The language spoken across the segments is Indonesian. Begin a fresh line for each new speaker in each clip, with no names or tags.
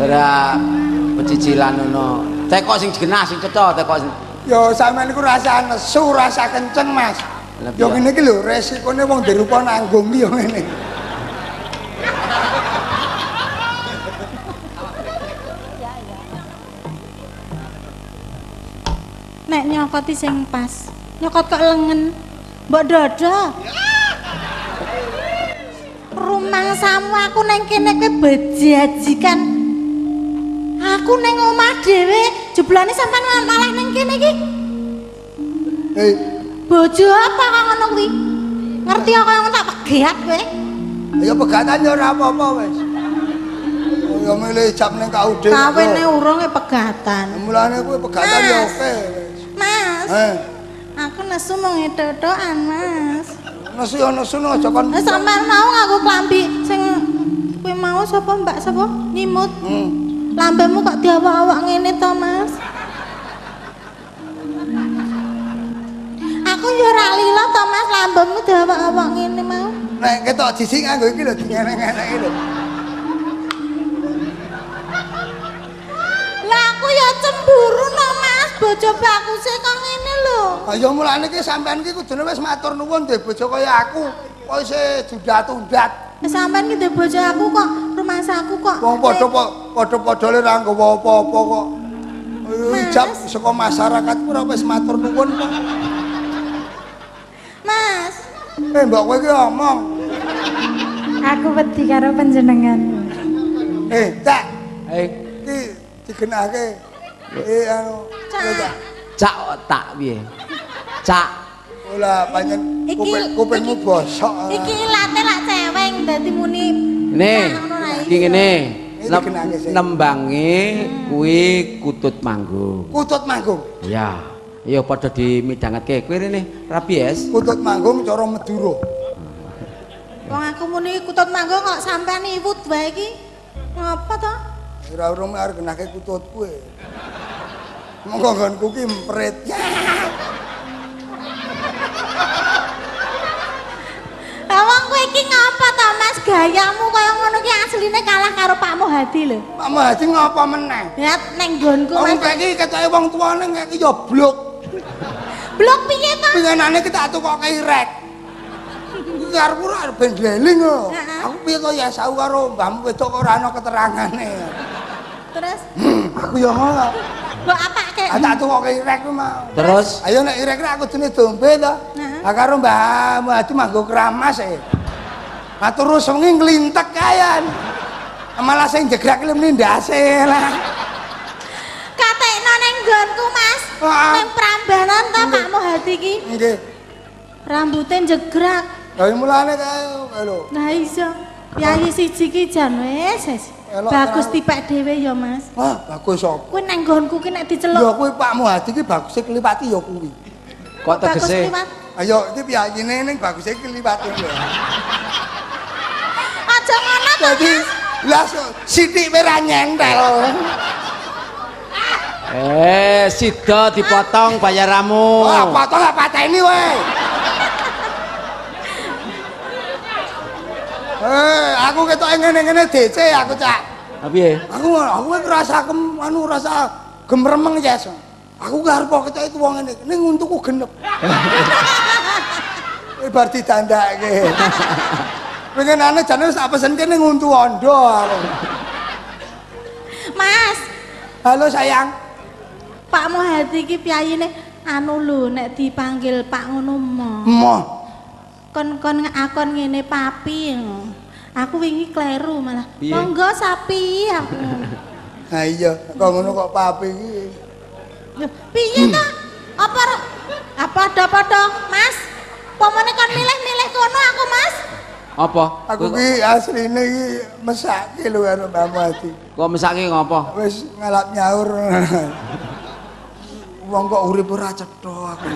Ora pecicilan ngono. Teko sing genah sing cetha teko sing
Ya sampean iku rasa nesu, rasa kenceng, Mas.
Lah,
Ya
iya.
ngene iki lho, resikone wong dirupa nanggung ki ya ngene.
Nek nyokoti sing pas. Nyokot kok lengen. Mbok Dodo. Rumah samu aku neng kene kowe bejajikan. Aku neng omah dhewe, jeblane sampean mal- malah neng kene iki.
Hei,
Bojo apa kok ngono kuwi? Ngerti kok ngono tak pegeat kowe.
ya pegatan ya ora apa-apa wis. Ya milih jam ning KUD.
Kawene urunge pegatan.
Mulane kuwi pegatan ya
Mas.
oke wis.
Mas,
Eh,
aku nesu mau ngedodoan, Mas.
nesu ya nesu no, aja kon.
Eh, sampean mau ngaku klambi sing kuwi mau sapa Mbak sapa? Nyimut.
Hmm.
Lambemu kok diawak-awak ngene to, Mas? Aku ya ora lila to, Mas, lambemu diawak-awak ngene mau.
Nek ketok jijik nganggo iki lho dingenek-ngenek iki lho.
Lah aku ya cemburu no, Mas, bojo bakuse kok ngene lho.
Ah, Ya mulane iki sampean iki kudune wis matur nuwun duwe bojo kaya aku. Kok isih jundat-undat.
Eh, Sampean ki duwe bojo aku kok rumah saku kok.
Wong padha padha-padha le ra nggawa apa-apa kok. Eh,
Mas.
Ijab saka masyarakat ku ora wis matur nuwun kok.
Mas,
Eh mbok kowe iki omong.
Aku wedi karo panjenengan.
Eh, tak
eh
iki digenake. Eh anu.
Cak.
eh, Cak.
cak kok tak piye? Cak
Ola pancen
Iki-
kuping kupingmu
iki-
bosok. ah.
iki ilate lak cewek dadi muni.
Nih,
Nah, ngono ae.
iki ngene.
Ini
Nem-
digenake sih.
Hmm.
Nembange kuwi kutut manggung.
Kutut manggung.
Ya, ya padha dimidangetke. Kuwi rene rapi es.
Kutut manggung cara Madura.
Wong aku muni kutut manggung kok sampean iwut wae iki. Ngapa to?
Ora urung arep genake kutut kowe. Monggo nggonku ki mprit.
Lah wong kowe iki ngapa to Mas gayamu kaya ngono ki asline kalah karo Pak Muhadi lho.
Pak Mahdi ngapa meneh?
Ya neng nggonku
Wong
Mas.
kaiki ketoke wong tuane kaiki ya blok.
Blok piye to?
Pinganane ki tak tukokke irek. Iki arep ora arep ben gleling lho.
Heeh.
Aku piye kok ya sawu karo mbahmu wedok kok ora ana keterangane.
Terus
Hmm, Aku ya ngono.
mbok apake?
Ah, Tak tukokke irek ku mau.
Terus
Ayo nek irek ra aku dene dombe to.
Nah.
Lah karo mbahmu adu manggo keramas e. Lah terus wengi nglintek kayan. Malah sing jegrak ki nindase lah.
Katekno neng nggonku Mas.
Heeh.
Neng prambanan to Pak Muhadi iki.
Nggih.
Rambutnya jegrak.
Lah mulane kae lho.
Nah iso. Yayi siji ki jan wis. wis.
Elok
Bagus
tenan.
tipek dhewe ya Mas.
Wah, bagus apa?
Kuwi neng nggonku ki nek
Ya
diceluk.
kuwi Pak Muhadi ki baguse kliwati ya kuwi.
kok
Bagus
tegese
liwat.
Ayo iki piyayine ning baguse kliwati lho.
Aja ngono to.
Dadi lah so- sithik wae ra nyentel.
eh sida dipotong
Oh,
bayaramu.
Wah, potong lah pateni wae. Eh, aku ketoke ngene-ngene DC aku, Cak.
Piye?
Aku aku wae ngrasa kem anu rasa gemremeng ya. So. Aku gak arep ketoke tuwa ngene. Ning untukku genep. Eh bar didandake. Pengenane jane wis tak pesenke ning untu ondo. aku.
Mas,
Halo sayang.
Pak Muhadi iki piyayine anu lho nek dipanggil Pak ngono mo.
Emoh.
Kon-kon ngakon ngene papi. ngono. Aku wingi kleru malah.
Piye?
Monggo sapi aku.
Ha iya, kok ngono kok papi iki.
Lho, Piye ta? Apa ro- apa padha-padha, Mas? Pomone kon milih-milih kono aku, Mas.
Apa?
Aku
Kowe
ki asline iki mesake lho karo Mbak Muati.
kok mesake ngopo?
Wis ngalap nyaur. Wong kok urip ora cetha aku.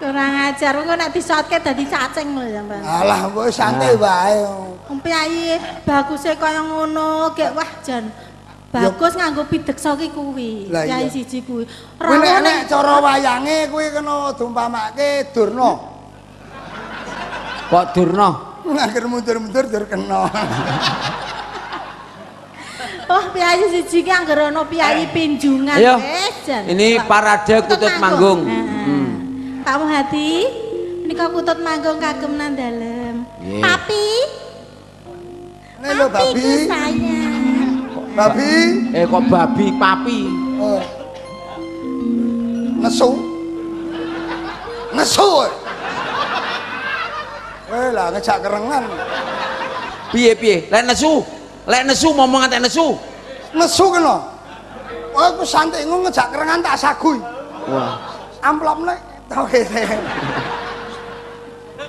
Kurang ajar kok nek disotke dadi cacing lho sampean.
Alah, kok santai wae.
Wong piyayi baguse kaya ngono, gek wah jan. Bagus nganggo pideksa ki kuwi.
Lah
Piyayi
iya.
siji kuwi.
Kuwi nek
Rawuh
nek
nek
cara wayange kuwi kena dumpamake durna.
Kok durna?
Ngger mundur-mundur dur kena.
Wah, piyayi Oh, siji ki anggere ana piyayi pinjungan
Ayo.
wis jan.
Eh. Ini parade kutut manggung. Hmm.
Heeh. Tamu hati menika kutut manggung kagem nang dalem.
Nggih.
Papi,
Nih lo
papi
babi,
ku sayang.
babi,
Eh kok babi papi?
oh. nesu, nesu. eh. Weh lah ngejak kerengan,
Piye piye? Lek nesu. Lek nesu ngomong antek nesu.
nesu kena. Oh, aku santai ngejak kerengan tak sagui.
Wah.
amplop nek tau kene.